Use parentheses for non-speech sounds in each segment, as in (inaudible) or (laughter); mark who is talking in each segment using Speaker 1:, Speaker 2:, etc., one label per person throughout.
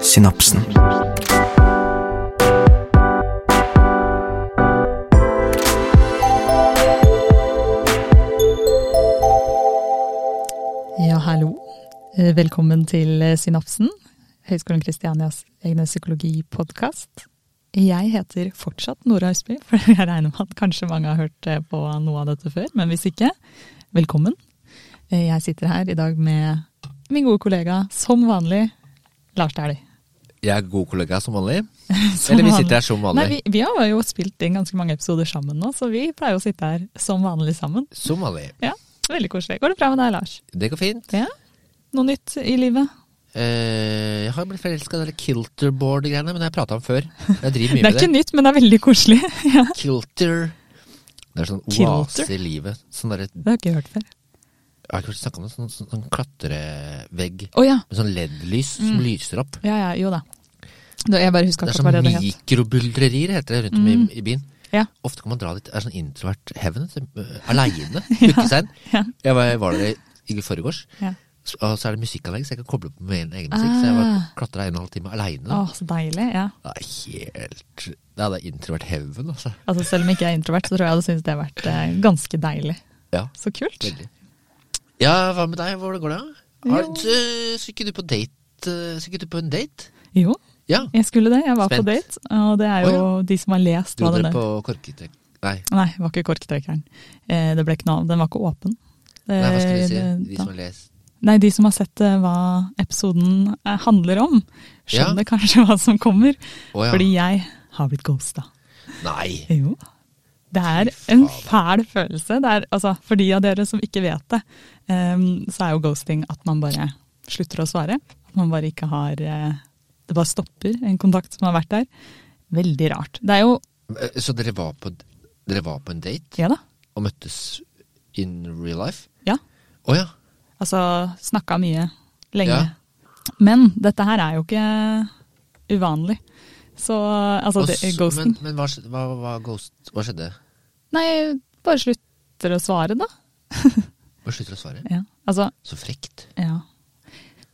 Speaker 1: synapsen.
Speaker 2: Ja, hallo. Eh, Velkommen til eh, Synapsen, Høgskolen Kristianias egne psykologipodkast. Jeg heter fortsatt Nora Østby, for jeg regner med at kanskje mange har hørt eh, på noe av dette før. Men hvis ikke, velkommen. Eh, Jeg sitter her i dag med min gode kollega, som vanlig, Lars Dæhlie. (laughs)
Speaker 3: Jeg er god kollega som vanlig.
Speaker 2: Som
Speaker 3: Eller vi
Speaker 2: vanlig.
Speaker 3: sitter her som vanlig.
Speaker 2: Nei, vi, vi har jo spilt inn ganske mange episoder sammen nå, så vi pleier å sitte her som vanlig sammen.
Speaker 3: Som vanlig.
Speaker 2: Ja, Veldig koselig. Går det bra med deg, Lars?
Speaker 3: Det går fint.
Speaker 2: Ja. Noe nytt i livet?
Speaker 3: Eh, jeg har blitt forelska i det der kilterboard-greiene, men det har jeg prata om før. Jeg driver
Speaker 2: Det
Speaker 3: mye
Speaker 2: er
Speaker 3: med det.
Speaker 2: ikke nytt, men det er veldig koselig. ja.
Speaker 3: Kilter. Det er sånn
Speaker 2: Kilter?
Speaker 3: oase i livet. Sånn derre
Speaker 2: (laughs)
Speaker 3: Jeg
Speaker 2: Det har jeg ikke hørt før.
Speaker 3: har ikke hørt snakka om det. Sånn, sånn, sånn klatrevegg
Speaker 2: Å ja.
Speaker 3: med sånn LED-lys som lyser opp.
Speaker 2: Ja, ja, jo da. Da, jeg Mm. bare huska
Speaker 3: Det er
Speaker 2: akkurat hva Mm.
Speaker 3: sånn
Speaker 2: det het.
Speaker 3: mikrobuldrerier, heter det rundt om i, i byen.
Speaker 2: Ja.
Speaker 3: Ofte kan man dra dit. Det er sånn introvert heaven. så, øh, Aleine. Lukke seg inn.
Speaker 2: (laughs) ja.
Speaker 3: Jeg var, var der i, i forgårs.
Speaker 2: Ja.
Speaker 3: Så- Og så er det musikkanlegg, så jeg kan koble på min egen musikk. Så jeg
Speaker 2: Ah.
Speaker 3: var klatra en og en halv time
Speaker 2: Å,
Speaker 3: aleine.
Speaker 2: så deilig. ja.
Speaker 3: Det er helt Det hadde introvert heaven, altså.
Speaker 2: Altså, Selv om jeg ikke er introvert, så tror jeg jeg hadde syntes det har vært eh, ganske deilig.
Speaker 3: Ja,
Speaker 2: Så kult.
Speaker 3: veldig. Ja, hva med deg? Hvordan går det? Har,
Speaker 2: Jo.
Speaker 3: så, så ikke du på date? eh, Så ikke du på en date?
Speaker 2: Jo,
Speaker 3: Ja.
Speaker 2: jeg skulle det. Jeg var
Speaker 3: Spent.
Speaker 2: på date, og det er jo de som har lest
Speaker 3: Dro
Speaker 2: hva den
Speaker 3: dere
Speaker 2: er.
Speaker 3: på korkete... Nei,
Speaker 2: Nei, det var ikke korktrekkeren. Eh, det ble ikke noe av. Den var ikke åpen.
Speaker 3: nei, hva skal vi si?
Speaker 2: Eh,
Speaker 3: De
Speaker 2: da-
Speaker 3: som har lest
Speaker 2: Nei, de som har sett eh, hva episoden eh, handler om, skjønner
Speaker 3: Ja.
Speaker 2: kanskje (laughs) hva som kommer.
Speaker 3: Å ja.
Speaker 2: Fordi jeg har blitt ghosta.
Speaker 3: Nei!
Speaker 2: Jo. Det er en fæl følelse. Det er, altså, for de av dere som ikke vet det, em, så er jo ghosting at man bare slutter å svare. At man bare ikke har eh, Det bare stopper en kontakt som har vært der. Veldig rart. Det er jo
Speaker 3: Eh, Så dere var på, dere var på en date?
Speaker 2: Ja da.
Speaker 3: Og møttes in real life?
Speaker 2: Ja.
Speaker 3: Å ja.
Speaker 2: Altså snakka mye lenge.
Speaker 3: Ja.
Speaker 2: Men dette her er jo ikke uvanlig. Så altså,
Speaker 3: Og
Speaker 2: det,
Speaker 3: s-
Speaker 2: ghosting
Speaker 3: Men, men hva, skj- hva, hva, ghost, hva skjedde?
Speaker 2: Nei, bare slutter å svare, da.
Speaker 3: Hva slutter å svare?
Speaker 2: Ja. Altså,
Speaker 3: Så frekt.
Speaker 2: Ja.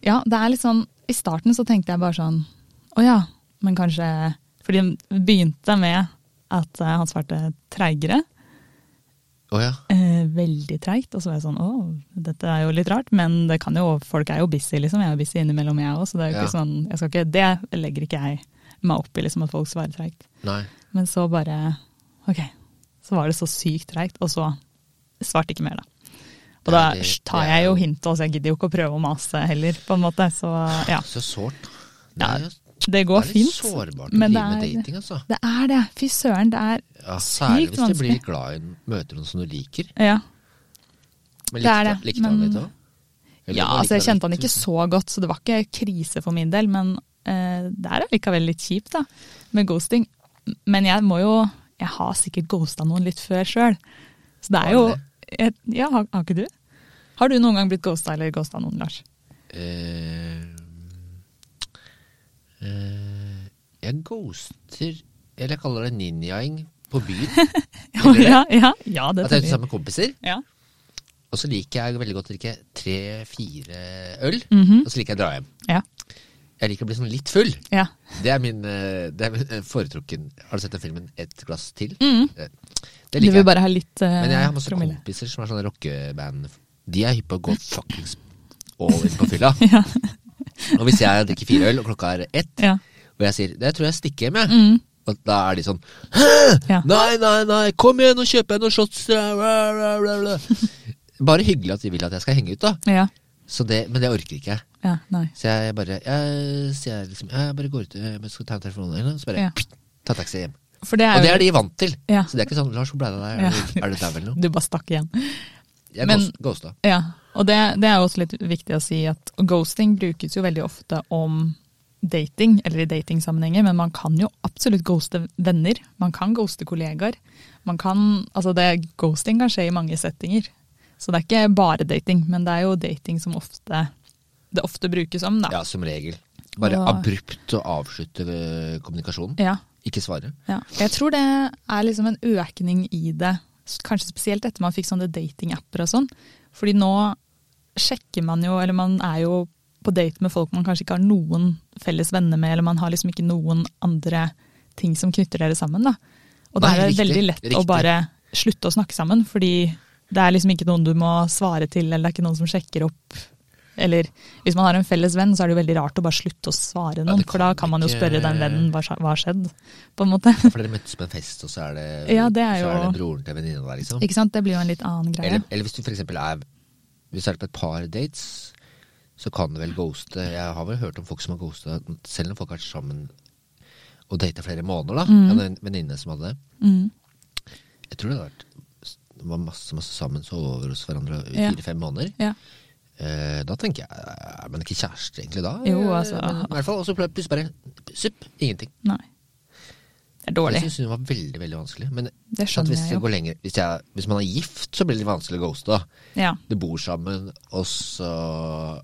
Speaker 2: ja, det er litt sånn I starten så tenkte jeg bare sånn Å ja, men kanskje Fordi det begynte med at eh, han svarte treigere.
Speaker 3: Å ja.
Speaker 2: Eh, veldig treigt. Og så var jeg sånn Å, dette er jo litt rart, men det kan jo Folk er jo busy, liksom. Jeg er jo busy innimellom, jeg òg, så det er jo ikke
Speaker 3: Ja.
Speaker 2: sånn jeg skal ikke, Det legger ikke jeg meg opp i, liksom, at folk svarer treigt.
Speaker 3: Nei.
Speaker 2: Men så bare Ok. Så var det så sykt treigt, og så svarte ikke mer, da. Og da
Speaker 3: Ja, det-
Speaker 2: tar
Speaker 3: det er
Speaker 2: jeg jo
Speaker 3: jo-
Speaker 2: hintet, så jeg gidder jo ikke å prøve å mase heller, på en måte. Så ja.
Speaker 3: Så sårt. Det
Speaker 2: Ja,
Speaker 3: er jo
Speaker 2: Det
Speaker 3: det
Speaker 2: går
Speaker 3: er litt
Speaker 2: fint.
Speaker 3: sårbart å
Speaker 2: men det
Speaker 3: drive med
Speaker 2: er-
Speaker 3: dating, altså.
Speaker 2: Det er det. Fy søren, det er
Speaker 3: Ja, særlig
Speaker 2: sykt
Speaker 3: hvis du blir
Speaker 2: vanskelig.
Speaker 3: glad i en møter noen som du liker.
Speaker 2: Ja.
Speaker 3: Men
Speaker 2: Det er
Speaker 3: likte,
Speaker 2: det,
Speaker 3: likte han
Speaker 2: men-
Speaker 3: litt òg?
Speaker 2: ja, altså jeg kjente han ikke
Speaker 3: liksom.
Speaker 2: så godt, så det var ikke krise for min del, men eh, det er allikevel litt kjipt da, med ghosting. Men jeg må jo Jeg har sikkert ghosta noen litt før sjøl. Så det er jo
Speaker 3: Har
Speaker 2: jeg, Ja, har, har ikke du? Har du noen gang blitt ghosta eller ghosta noen, Lars?
Speaker 3: Eh, Jeg ghoster Eller jeg kaller det ninjaing på byen.
Speaker 2: (laughs) Ja,
Speaker 3: Eller-
Speaker 2: ja, ja, ja det
Speaker 3: At jeg er ute
Speaker 2: teller.
Speaker 3: sammen med kompiser.
Speaker 2: Ja.
Speaker 3: Og så liker jeg veldig godt å drikke tre-fire øl.
Speaker 2: Mhm.
Speaker 3: Og så liker jeg å dra hjem.
Speaker 2: Ja.
Speaker 3: Jeg liker å bli sånn litt full.
Speaker 2: ja.
Speaker 3: Det er min, eh, det er min eh, foretrukken Har du sett den filmen 'Et glass til'?
Speaker 2: Mm.
Speaker 3: Eh, Det
Speaker 2: Du
Speaker 3: liker
Speaker 2: vil
Speaker 3: jeg.
Speaker 2: bare ha litt eh,
Speaker 3: Men jeg har masse
Speaker 2: promille.
Speaker 3: kompiser som er sånne rockeband. De er hypp på å gå fuckings all in på fylla.
Speaker 2: (laughs) Ja.
Speaker 3: Og hvis jeg drikker fire øl, og klokka er ett,
Speaker 2: Ja.
Speaker 3: og jeg sier 'det tror jeg stikker hjem', jeg.
Speaker 2: Mm,
Speaker 3: Og da er de sånn 'hæ?
Speaker 2: Ja.
Speaker 3: Nei, nei, nei, kom igjen og kjøp deg noen shots'. Bla, bla, bla, bla. Bare hyggelig at de vil at jeg skal henge ut, da.
Speaker 2: ja.
Speaker 3: Så det, men det orker ikke jeg.
Speaker 2: Ja, nei.
Speaker 3: Så jeg bare jeg, så jeg liksom, jeg bare går ut eh, men skal ta en telefon, eller noe, så bare
Speaker 2: Ja.
Speaker 3: pst, ta taxi hjem.
Speaker 2: For det
Speaker 3: Og
Speaker 2: er
Speaker 3: det
Speaker 2: jo
Speaker 3: er de vant til.
Speaker 2: Ja.
Speaker 3: Så det er ikke sånn 'Lars, hvor ble det av deg? Er, du- er du dau eller noe?'
Speaker 2: Du bare stakk igjen.
Speaker 3: Jeg
Speaker 2: Men-
Speaker 3: ghost- ghosta.
Speaker 2: Ja, og det, det er jo også litt viktig å si at ghosting brukes jo veldig ofte om dating, eller i datingsammenhenger, men man kan jo absolutt ghoste venner. Man kan ghoste kollegaer. Man kan, altså det, ghosting kan skje i mange settinger. Så det er ikke bare dating, men det er jo dating som ofte, det ofte brukes om, da.
Speaker 3: Ja, som regel. Bare
Speaker 2: Og-
Speaker 3: abrupt å avslutte eh, kommunikasjonen.
Speaker 2: Ja,
Speaker 3: Ikke svare.
Speaker 2: ja. Jeg tror det er liksom en økning i det, s- kanskje spesielt etter man fikk sånne datingapper og sånn. Fordi nå sjekker man jo, eller man er jo på date med folk man kanskje ikke har noen felles venner med, eller man har liksom ikke noen andre ting som knytter dere sammen. da. Og da er
Speaker 3: Nei,
Speaker 2: det
Speaker 3: riktig,
Speaker 2: veldig lett å
Speaker 3: riktig.
Speaker 2: bare slutte å snakke sammen, fordi det er liksom ikke noen du må svare til, eller det er ikke noen som sjekker opp. Eller hvis man har en felles venn, så er det jo veldig rart å bare slutte å svare noen,
Speaker 3: det
Speaker 2: for da kan
Speaker 3: kan
Speaker 2: man jo
Speaker 3: ikke-
Speaker 2: spørre den vennen hva hva har skjedd, på en måte.
Speaker 3: For dere møttes på en fest, og så er det,
Speaker 2: Ja, det er
Speaker 3: så er
Speaker 2: jo-
Speaker 3: det broren til venninna der, liksom.
Speaker 2: (laughs) Ikke sant? Det blir jo en litt annen greie.
Speaker 3: Eller, eller hvis du for eksempel er Hvis du er på et par dates, så kan du vel ghoste Jeg har vel hørt om folk som har ghosta, selv om folk har vært sammen og data flere måneder, da. Jeg hadde en venninne som hadde det.
Speaker 2: Mm.
Speaker 3: Jeg tror det hadde vært det var masse masse sammen, sov over hos hverandre i
Speaker 2: Ja.
Speaker 3: fire-fem måneder.
Speaker 2: Ja.
Speaker 3: Eh, da tenker jeg Er man ikke kjærester egentlig da?
Speaker 2: Jo, altså.
Speaker 3: Men, I hvert fall, Og så plutselig bare supp, ingenting.
Speaker 2: Nei. Det er dårlig.
Speaker 3: Jeg syns hun var veldig veldig vanskelig. Men
Speaker 2: Det skjønner
Speaker 3: hvis,
Speaker 2: jeg
Speaker 3: det
Speaker 2: jo.
Speaker 3: går lenger, hvis, jeg, hvis man er gift, så blir det litt vanskelig å ghoste. da
Speaker 2: Ja.
Speaker 3: Du bor sammen, og så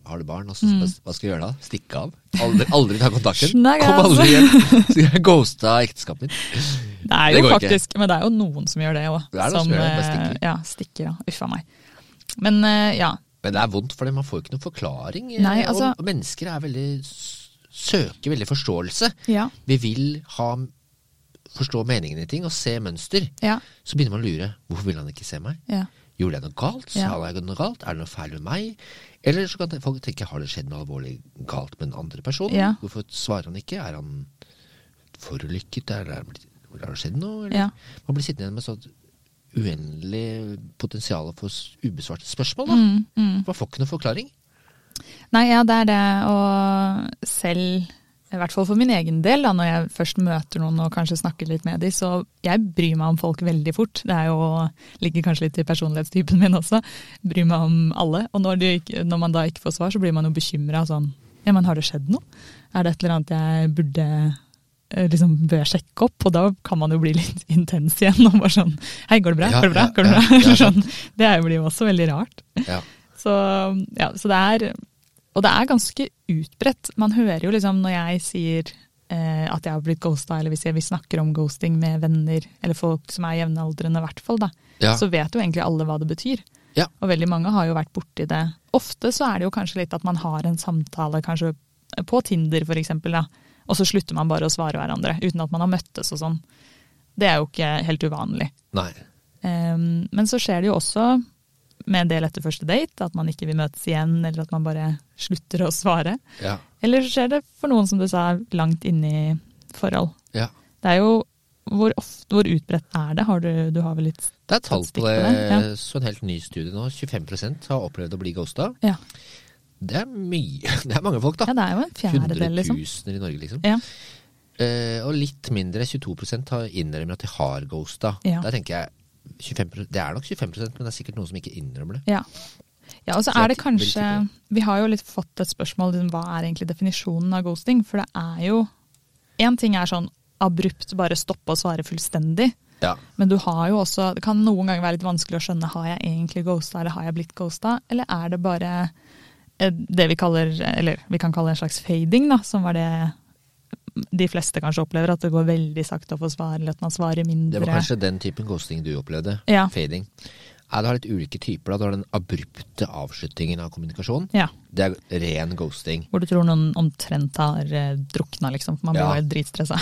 Speaker 3: har du barn, og så
Speaker 2: Mm.
Speaker 3: hva skal du gjøre da? Stikke av? Aldri, aldri ta
Speaker 2: (laughs)
Speaker 3: kontakten?
Speaker 2: Snakk,
Speaker 3: Kom
Speaker 2: altså.
Speaker 3: aldri igjen! Skal jeg ghoste av ekteskapet mitt?
Speaker 2: Det er
Speaker 3: Det
Speaker 2: jo
Speaker 3: går ikke.
Speaker 2: faktisk, men det er jo noen som gjør det òg.
Speaker 3: Det er noen som gjør det, bare stikker.
Speaker 2: Ja, stikker, ja. Uff a meg. Men eh, ja.
Speaker 3: Men det er vondt, for man får jo ikke noen forklaring. eh,
Speaker 2: Nei, altså-
Speaker 3: Og mennesker er veldig s- søker veldig forståelse.
Speaker 2: Ja.
Speaker 3: Vi vil ha forstå meningen i ting og se mønster.
Speaker 2: Ja.
Speaker 3: Så begynner man å lure. Hvorfor vil han ikke se meg?
Speaker 2: ja.
Speaker 3: Gjorde jeg noe galt? Sa
Speaker 2: Ja.
Speaker 3: jeg noe galt? Er det noe feil med meg? Eller så kan te- folk tenke har det skjedd noe alvorlig galt med den andre personen?
Speaker 2: Ja.
Speaker 3: Hvorfor svarer han ikke? Er han forulykket? Er det- er det blitt- Har det skjedd noe? Eller?
Speaker 2: Ja.
Speaker 3: Man blir sittende igjen med sånt uendelig potensial for s- ubesvarte spørsmål. Da.
Speaker 2: Mm, mm.
Speaker 3: Man får ikke noen
Speaker 2: (laughs)
Speaker 3: forklaring.
Speaker 2: Nei, ja, det er det. Og selv, i hvert fall for min egen del, da, når jeg først møter noen og kanskje snakker litt med dem, så jeg bryr meg om folk veldig fort. Det er jo, ligger kanskje litt i personlighetstypen min også. Bryr meg om alle. Og når, de, ikke- når man da ikke får svar, så blir man jo bekymra sånn Ja, men har det skjedd noe? Er det et eller annet jeg burde eh, liksom bør jeg sjekke opp, og da kan man jo bli litt (laughs) intens igjen. og bare sånn, Hei, går det bra?
Speaker 3: Ja,
Speaker 2: går det bra?
Speaker 3: ja,
Speaker 2: går det bra?
Speaker 3: ja, ja,
Speaker 2: Eller (laughs) sånn. Det er jo- blir jo også veldig rart.
Speaker 3: Ja.
Speaker 2: Så, ja, så det er Og det er ganske utbredt. Man hører jo liksom når jeg sier eh, at jeg har blitt ghosta, eller hvis jeg, vi snakker om ghosting med venner, eller folk som er jevnaldrende, i hvert fall, da,
Speaker 3: Ja.
Speaker 2: så vet jo egentlig alle hva det betyr.
Speaker 3: Ja.
Speaker 2: Og veldig mange har jo vært borti det. Ofte så er det jo kanskje litt at man har en samtale, kanskje på Tinder for eksempel, da, og så slutter man bare å svare hverandre, uten at man har møttes og sånn. Det er jo ikke helt uvanlig.
Speaker 3: Nei.
Speaker 2: Ehm, men så skjer det jo også med en del etter første date, at man ikke vil møtes igjen, eller at man bare slutter å svare.
Speaker 3: Ja.
Speaker 2: Eller så skjer det for noen, som du sa, langt inne i forhold.
Speaker 3: ja.
Speaker 2: Det er jo hvor, ofte, hvor utbredt er det? Har du, du har vel litt
Speaker 3: Det er tall
Speaker 2: Statistikk
Speaker 3: på
Speaker 2: på
Speaker 3: det.
Speaker 2: det,
Speaker 3: Så en helt ny studie nå. 25 har opplevd å bli ghosta.
Speaker 2: Ja,
Speaker 3: Det er mye. (laughs) Det er mange folk, da.
Speaker 2: ja det er jo en fjerdedel, liksom.
Speaker 3: Hundretusener i Norge, liksom.
Speaker 2: Ja.
Speaker 3: Eh, og litt mindre, 22 har innrømmer at de har ghosta.
Speaker 2: Ja.
Speaker 3: Der tenker jeg 25%, Det er nok 25 men det er sikkert noen som ikke innrømmer det.
Speaker 2: Ja. ja, og så
Speaker 3: Så
Speaker 2: er det
Speaker 3: jeg vil
Speaker 2: kanskje
Speaker 3: tippe
Speaker 2: Vi har jo litt fått et spørsmål om hva er egentlig definisjonen av ghosting? For det er jo Én ting er sånn abrupt bare stoppe å svare fullstendig.
Speaker 3: Ja,
Speaker 2: Men du har jo også, det kan noen ganger være litt vanskelig å skjønne har jeg egentlig ghosta, eller har jeg blitt ghosta, eller er det bare eh, det vi kaller, eller vi kan kalle en slags fading, da, som var det de fleste kanskje opplever, at det går veldig sakte å få svar, eller at man svarer mindre.
Speaker 3: Det var kanskje den typen ghosting du opplevde.
Speaker 2: Ja.
Speaker 3: Fading. Ja, du har litt ulike typer. da. Du har den abrupte avslutningen av kommunikasjon.
Speaker 2: Ja,
Speaker 3: Det er ren ghosting.
Speaker 2: hvor du tror noen omtrent har eh, drukna, liksom, for man blir
Speaker 3: Ja.
Speaker 2: jo helt dritstressa.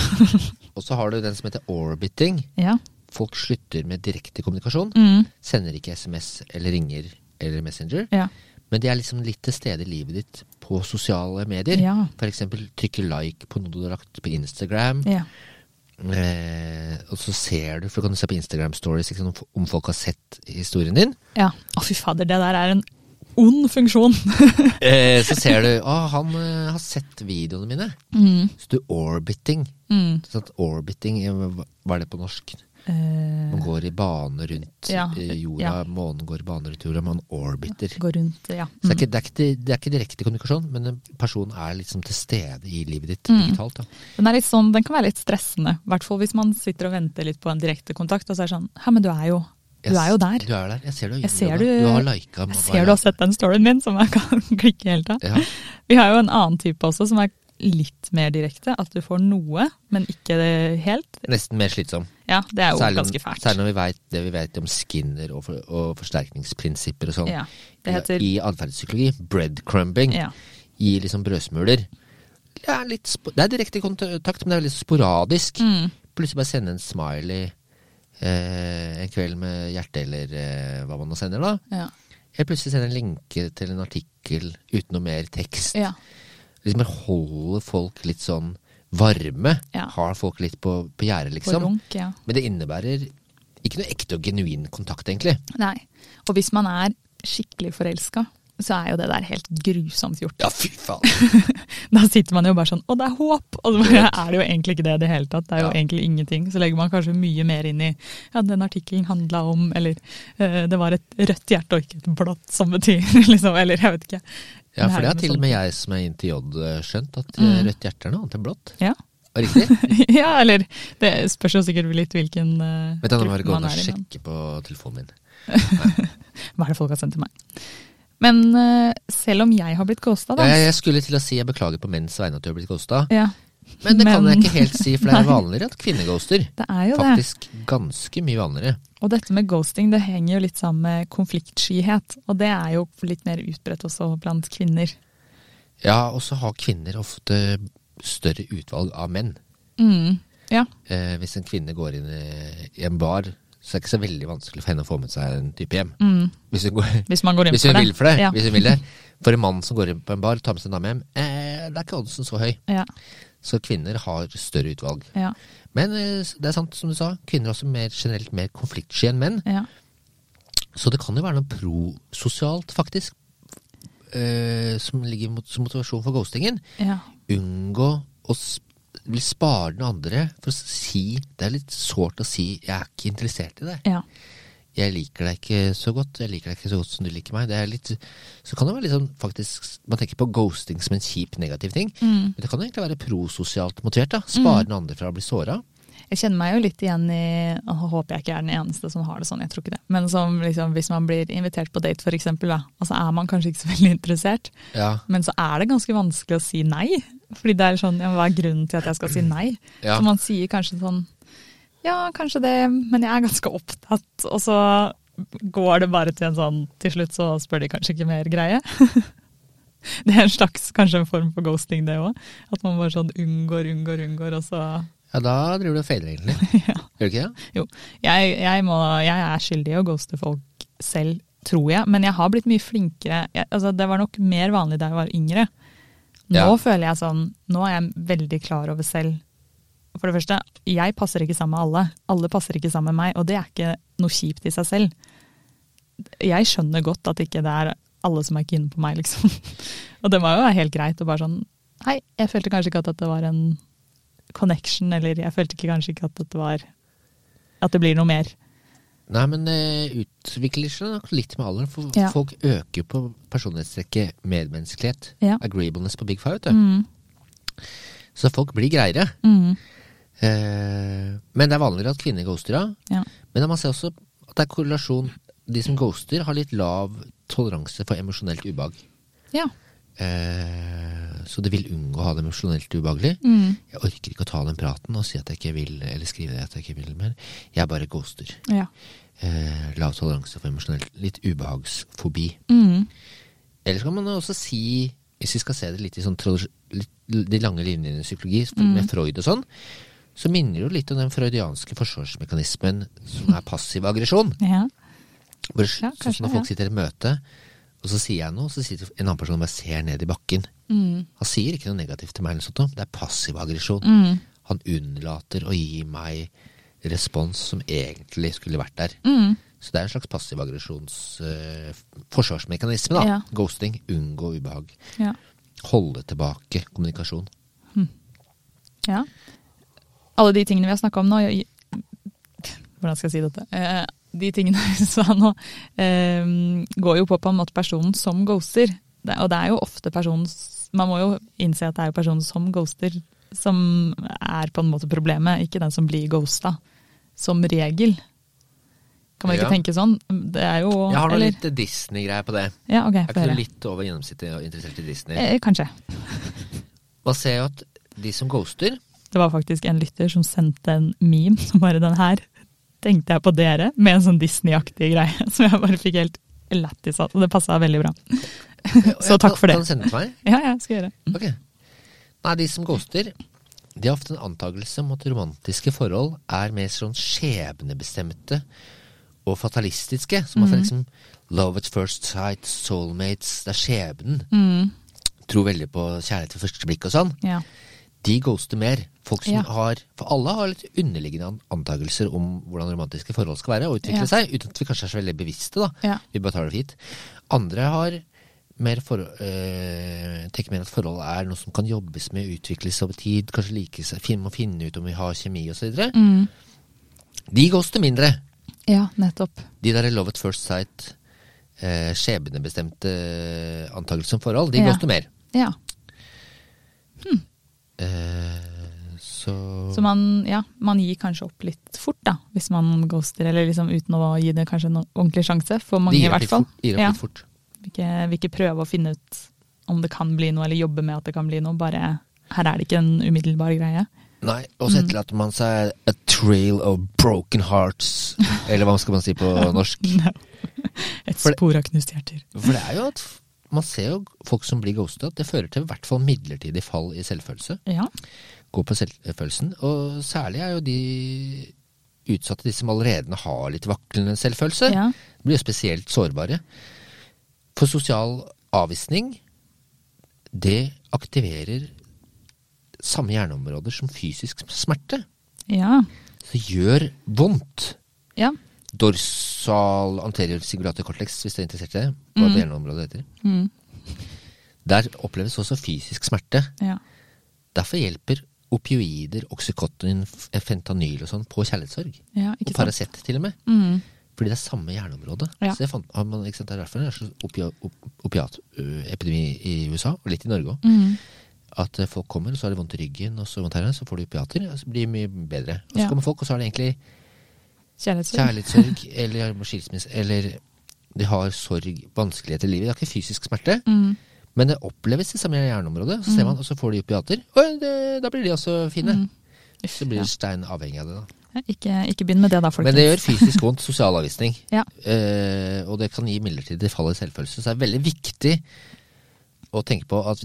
Speaker 3: Og så har du den som heter orbiting.
Speaker 2: (laughs) ja.
Speaker 3: Folk slutter med direkte kommunikasjon.
Speaker 2: Mm,
Speaker 3: Sender ikke SMS eller ringer eller Messenger.
Speaker 2: ja.
Speaker 3: Men de er liksom litt til stede i livet ditt på sosiale medier.
Speaker 2: Ja.
Speaker 3: For eksempel trykker like på noe du har lagt på Instagram.
Speaker 2: ja.
Speaker 3: Eh, og så ser du, for du kan se på Instagram stories ikke sant, om, om folk har sett historien din.
Speaker 2: Ja. Å, fy fader, det der er en ond funksjon. (laughs)
Speaker 3: Eh, så ser du å, han eh, har sett videoene mine.
Speaker 2: mm.
Speaker 3: Så du orbiting.
Speaker 2: Mm.
Speaker 3: Sånn at orbiting, eh, hva hva er det på norsk?
Speaker 2: Eh,
Speaker 3: Man går i bane rundt
Speaker 2: Ja,
Speaker 3: eh, jorda,
Speaker 2: ja.
Speaker 3: månen går i bane rundt jorda, man orbiter.
Speaker 2: går rundt, ja. Mm.
Speaker 3: Så det er, ikke, det, er ikke, det er ikke direkte kommunikasjon, men en person er liksom til stede i livet ditt
Speaker 2: Mm.
Speaker 3: digitalt. Da.
Speaker 2: Den, er litt sånn, den kan være litt stressende, i hvert fall hvis man sitter og venter litt på en direkte kontakt, og så er det sånn, hæ, men du er jo, du
Speaker 3: Jeg
Speaker 2: er jo
Speaker 3: s-
Speaker 2: der.
Speaker 3: Du er der. Jeg ser du, har
Speaker 2: Jeg ser
Speaker 3: gjort det,
Speaker 2: du-
Speaker 3: da. du har lika.
Speaker 2: Jeg ser du har sett den storyen min, som jeg kan (laughs) klikke helt av.
Speaker 3: Ja.
Speaker 2: Vi har jo en annen type også, som er litt mer direkte, at du får noe, men ikke det helt.
Speaker 3: Nesten mer slitsom.
Speaker 2: Ja, (laughs) det er jo
Speaker 3: Særlig,
Speaker 2: ganske fælt.
Speaker 3: særlig når vi vet det vi vet om skinner og, for, og forsterkningsprinsipper og sånn.
Speaker 2: Ja, det heter,
Speaker 3: I atferdspsykologi breadcrumbing.
Speaker 2: ja,
Speaker 3: gir liksom brødsmuler. Det er, litt sp det er direkte kontakt, men det er veldig sporadisk.
Speaker 2: Mm.
Speaker 3: Plutselig bare sende en smiley eh, en kveld med hjerte, eller eh, hva man nå sender, da.
Speaker 2: Ja.
Speaker 3: Eller plutselig sende en lenke til en artikkel uten noe mer tekst.
Speaker 2: ja.
Speaker 3: Liksom bare holde folk litt sånn varme.
Speaker 2: Ja.
Speaker 3: Har folk litt på, på gjerdet,
Speaker 2: På
Speaker 3: liksom.
Speaker 2: runk, ja.
Speaker 3: Men det innebærer ikke noe ekte og genuin kontakt, egentlig.
Speaker 2: Nei. Og hvis man er skikkelig forelska, så er jo det der helt grusomt gjort.
Speaker 3: Ja, fy faen!
Speaker 2: Da sitter man jo bare sånn 'Å, det er håp!' Og så bare er det jo egentlig ikke det i det hele tatt. Det er jo
Speaker 3: Ja.
Speaker 2: egentlig ingenting. Så legger man kanskje mye mer inn i 'ja, den artikkelen handla om', eller eh, 'det var et rødt hjerte og ikke et blått', som betyr (laughs) liksom, Eller jeg vet ikke.
Speaker 3: (laughs) Ja, for det
Speaker 2: her
Speaker 3: har til og
Speaker 2: sånn-
Speaker 3: med jeg som er inn til J skjønt, at
Speaker 2: Mm.
Speaker 3: eh, rødt hjerte er noe annet enn blått.
Speaker 2: Ja. (laughs)
Speaker 3: Og Riktig?
Speaker 2: ja, eller Det spørs jo sikkert litt hvilken eh,
Speaker 3: Vet du, nå må jeg
Speaker 2: gruppe
Speaker 3: gå
Speaker 2: man
Speaker 3: inn og
Speaker 2: er i. men-
Speaker 3: sjekke på telefonen min.
Speaker 2: Hva er det folk har sendt til meg? Men eh, selv om jeg har blitt ghosta, da
Speaker 3: Jeg, jeg skulle til å si jeg beklager på menns vegne at du har blitt ghosta,
Speaker 2: ja,
Speaker 3: men det kan
Speaker 2: Men-
Speaker 3: jeg ikke helt
Speaker 2: (laughs)
Speaker 3: si, for det er vanligere at kvinner ghoster.
Speaker 2: Det er jo det.
Speaker 3: Faktisk ganske mye vanligere.
Speaker 2: Og dette med ghosting det henger jo litt sammen med konfliktskyhet. Og det er jo litt mer utbredt også blant kvinner.
Speaker 3: Ja, og så har kvinner ofte større utvalg av menn.
Speaker 2: Mm. Ja.
Speaker 3: Eh, hvis en kvinne går inn i i en bar, så er det ikke så veldig vanskelig for henne å få med seg en type hjem.
Speaker 2: Mm.
Speaker 3: Hvis hun, går,
Speaker 2: Hvis man går inn
Speaker 3: hvis hun
Speaker 2: for det.
Speaker 3: vil for det.
Speaker 2: Ja.
Speaker 3: Hvis hun vil det. For en mann som går inn på en bar, tar med seg en dame hjem, eh, det er ikke oddsen så høy.
Speaker 2: Ja,
Speaker 3: Så kvinner har større utvalg.
Speaker 2: ja,
Speaker 3: Men eh, det er sant som du sa, kvinner er også mer, generelt mer konfliktsky enn menn.
Speaker 2: ja.
Speaker 3: Så det kan jo være noe prososialt, faktisk, eh, som ligger mot, som motivasjon for ghostingen.
Speaker 2: ja.
Speaker 3: Unngå å sp vil spare den andre for å si Det er litt sårt å si 'jeg er ikke interessert i deg'.
Speaker 2: ja.
Speaker 3: Jeg liker deg ikke så godt. Jeg liker deg ikke så godt som du liker meg. Det er litt, så kan det være litt sånn faktisk Man tenker på ghosting som en kjip, negativ ting.
Speaker 2: Mm.
Speaker 3: Men det kan jo egentlig være prososialt motivert. da Spare den andre fra å bli såra.
Speaker 2: Jeg kjenner meg jo litt igjen i og Håper jeg ikke er den eneste som har det sånn, jeg tror ikke det. Men som liksom, hvis man blir invitert på date, for eksempel, da, og så er man kanskje ikke så (laughs) veldig interessert,
Speaker 3: Ja.
Speaker 2: men så er det ganske vanskelig å si nei. Fordi det er sånn, ja, men hva er grunnen til at jeg skal si nei?
Speaker 3: Ja.
Speaker 2: Så man sier kanskje sånn Ja, kanskje det, men jeg er ganske opptatt. Og så går det bare til en sånn Til slutt så spør de kanskje ikke mer greie. (laughs) Det er en slags, kanskje en form for ghosting, det òg. At man bare sånn unngår, unngår, unngår, og så (laughs)
Speaker 3: Ja, da driver du og fader, egentlig. Gjør du ikke det?
Speaker 2: Jo. Jeg, jeg, må, jeg er skyldig i å ghoste folk selv, tror jeg. Men jeg har blitt mye flinkere. Jeg, altså, det var nok mer vanlig da jeg var yngre. Nå
Speaker 3: Ja.
Speaker 2: føler jeg sånn Nå er jeg veldig klar over selv. For det første, jeg passer ikke sammen med alle. Alle passer ikke sammen med meg, og det er ikke noe kjipt i seg selv. Jeg skjønner godt at ikke det er alle som er keen på meg, liksom. (laughs) Og det må jo være helt greit å bare sånn Hei, jeg følte kanskje ikke at dette var en connection, eller jeg følte ikke kanskje ikke at dette var At det blir noe mer.
Speaker 3: Nei, men eh, utvikler seg nok litt med alderen. For
Speaker 2: Ja.
Speaker 3: folk øker jo på personlighetstrekket medmenneskelighet.
Speaker 2: Ja.
Speaker 3: Agreeableness på big five, vet du.
Speaker 2: Mm,
Speaker 3: Så folk blir greiere.
Speaker 2: mm,
Speaker 3: Eh, men det er vanligere at kvinner ghoster, ja.
Speaker 2: ja.
Speaker 3: Men man ser også at det er korrelasjon. De som ghoster, har litt lav toleranse for emosjonelt ubehag.
Speaker 2: ja.
Speaker 3: Eh, så de vil unngå å ha det emosjonelt ubehagelig.
Speaker 2: Mm,
Speaker 3: Jeg orker ikke å ta den praten og si at jeg ikke vil, eller skrive at jeg ikke vil mer. Jeg bare ghoster.
Speaker 2: ja.
Speaker 3: Eh, lav toleranse for emosjonelt litt ubehagsfobi.
Speaker 2: Mm,
Speaker 3: Eller så kan man også si, hvis vi skal se det litt i sånn tradis- litt, de lange linjene i psykologi,
Speaker 2: Mm.
Speaker 3: med Freud og sånn, så minner det jo litt om den freudianske forsvarsmekanismen som er passiv aggresjon.
Speaker 2: ja.
Speaker 3: Bare s-
Speaker 2: Ja,
Speaker 3: sånn
Speaker 2: kanskje,
Speaker 3: som når
Speaker 2: ja.
Speaker 3: folk sitter i et møte, og så sier jeg noe, så sitter en annen person og bare ser ned i bakken.
Speaker 2: Mm,
Speaker 3: Han sier ikke noe negativt til meg, eller sånt, noe. det er passiv aggresjon.
Speaker 2: mm,
Speaker 3: Han unnlater å gi meg respons som egentlig skulle vært der.
Speaker 2: mm.
Speaker 3: Så det er en slags passiv aggresjons eh, f- forsvarsmekanisme, da.
Speaker 2: Ja.
Speaker 3: Ghosting. Unngå ubehag.
Speaker 2: Ja.
Speaker 3: Holde tilbake kommunikasjon.
Speaker 2: Ja. Alle de tingene vi har snakka om nå jeg- Hvordan skal jeg si dette? Eh, De tingene (laughs) vi sa nå, eh, går jo på på en måte personen som ghoster. Det, og det er jo ofte personen s- Man må jo innse at det er jo personen som ghoster som er på en måte problemet, ikke den som blir ghosta. Som regel. Kan man ikke
Speaker 3: Ja.
Speaker 2: tenke sånn? Det er jo
Speaker 3: Jeg har noe
Speaker 2: eller-
Speaker 3: litt Disney-greier på det.
Speaker 2: Ja, ok.
Speaker 3: Er
Speaker 2: få
Speaker 3: ikke du
Speaker 2: høre.
Speaker 3: litt over gjennomsnittet og interessert i Disney?
Speaker 2: Eh, Kanskje.
Speaker 3: Man ser jo at de som ghoster
Speaker 2: Det var faktisk en lytter som sendte en meme (laughs) som bare den her. Tenkte jeg på dere med en sånn Disney-aktig greie som jeg bare fikk helt lættis. altså. Det passa veldig bra.
Speaker 3: Ja,
Speaker 2: (laughs) Så takk for
Speaker 3: kan- Kan
Speaker 2: det.
Speaker 3: du sende det til meg?
Speaker 2: Ja, ja, skal gjøre.
Speaker 3: Ok. Nei, de som ghoster, de har ofte en antakelse om at romantiske forhold er mer sånn skjebnebestemte og fatalistiske. Som
Speaker 2: Mm.
Speaker 3: at det er liksom love at first sight, soulmates, det er skjebnen.
Speaker 2: Mm,
Speaker 3: Tror veldig på kjærlighet ved første blikk og sånn.
Speaker 2: ja.
Speaker 3: De ghoster mer. Folk som
Speaker 2: Ja.
Speaker 3: har For alle har litt underliggende an- antakelser om hvordan romantiske forhold skal være og utvikle
Speaker 2: Ja.
Speaker 3: seg, uten at vi kanskje er så veldig bevisste, da.
Speaker 2: Ja.
Speaker 3: Vi bare tar det fint. Andre har mer for, eh, tenker mer at forholdet er noe som kan jobbes med, utvikles over tid, kanskje like seg, fin- må finne ut om vi har kjemi osv. videre
Speaker 2: Mm,
Speaker 3: De koster mindre.
Speaker 2: ja, nettopp.
Speaker 3: De der love at first sight, eh, skjebnebestemte antakelser om forhold, de
Speaker 2: Ja.
Speaker 3: koster mer.
Speaker 2: Ja.
Speaker 3: Eh, så
Speaker 2: Så man, ja, man gir kanskje opp litt fort, da, hvis man ghoster, eller liksom uten å gi det kanskje en ordentlig sjanse, for mange i
Speaker 3: de gir opp
Speaker 2: hvert
Speaker 3: litt
Speaker 2: fall.
Speaker 3: fort. Gir opp
Speaker 2: Ja.
Speaker 3: litt fort.
Speaker 2: Vil ikke, vil ikke prøve å finne ut om det kan bli noe, eller jobbe med at det kan bli noe, bare her er det ikke en umiddelbar greie.
Speaker 3: Nei, og så etterlater man seg a trail of broken hearts, eller hva skal man si på norsk?
Speaker 2: Et
Speaker 3: For det-
Speaker 2: spor av knust hjerter.
Speaker 3: For det er jo at man ser jo folk som blir ghosta, at det fører til i hvert fall midlertidig fall i selvfølelse.
Speaker 2: Ja.
Speaker 3: Gå på selvfølelsen. Og særlig er jo de utsatte, de som allerede har litt vaklende selvfølelse,
Speaker 2: ja.
Speaker 3: blir jo spesielt sårbare. For sosial avvisning, det aktiverer samme hjerneområder som fysisk smerte.
Speaker 2: Ja.
Speaker 3: Så det gjør vondt.
Speaker 2: ja.
Speaker 3: Dorsal anterior singulator cortex, hvis du er interessert i det. Hva det hjerneområdet heter.
Speaker 2: Mm.
Speaker 3: Der oppleves også fysisk smerte.
Speaker 2: ja.
Speaker 3: Derfor hjelper opioider, oksykotin, f- fentanyl og sånn på kjærlighetssorg.
Speaker 2: Ja,
Speaker 3: Og
Speaker 2: ikke sant.
Speaker 3: Paracet til og med.
Speaker 2: Mm.
Speaker 3: Fordi det er samme hjerneområde.
Speaker 2: Ja.
Speaker 3: Så det, fant, har man, ikke sant, det er derfor det er så opia, op, opiatepidemi i USA, og litt i Norge òg.
Speaker 2: Mm.
Speaker 3: At eh, folk kommer, og så har de vondt i ryggen, og så vondt her, og så får de opiater, og så blir de mye bedre. Og så
Speaker 2: Ja.
Speaker 3: kommer folk, og så har de egentlig
Speaker 2: Kjærlighetssorg.
Speaker 3: kjærlighetssorg, eller har skilsmisse, eller de har sorg, vanskeligheter i livet. Det er ikke fysisk smerte,
Speaker 2: Mm.
Speaker 3: men det oppleves i samme hjerneområde. Så ser man, og så får de opiater. Og det, da blir de også fine.
Speaker 2: Uff,
Speaker 3: Så blir
Speaker 2: Mm. ja.
Speaker 3: stein avhengig av det, da.
Speaker 2: Ja, Ikke, ikke begynn med det da, folkens.
Speaker 3: Men det gjør fysisk vondt sosial avvisning.
Speaker 2: Ja.
Speaker 3: Eh, og det kan gi midlertidig fall i selvfølelse. Så det er veldig viktig å tenke på at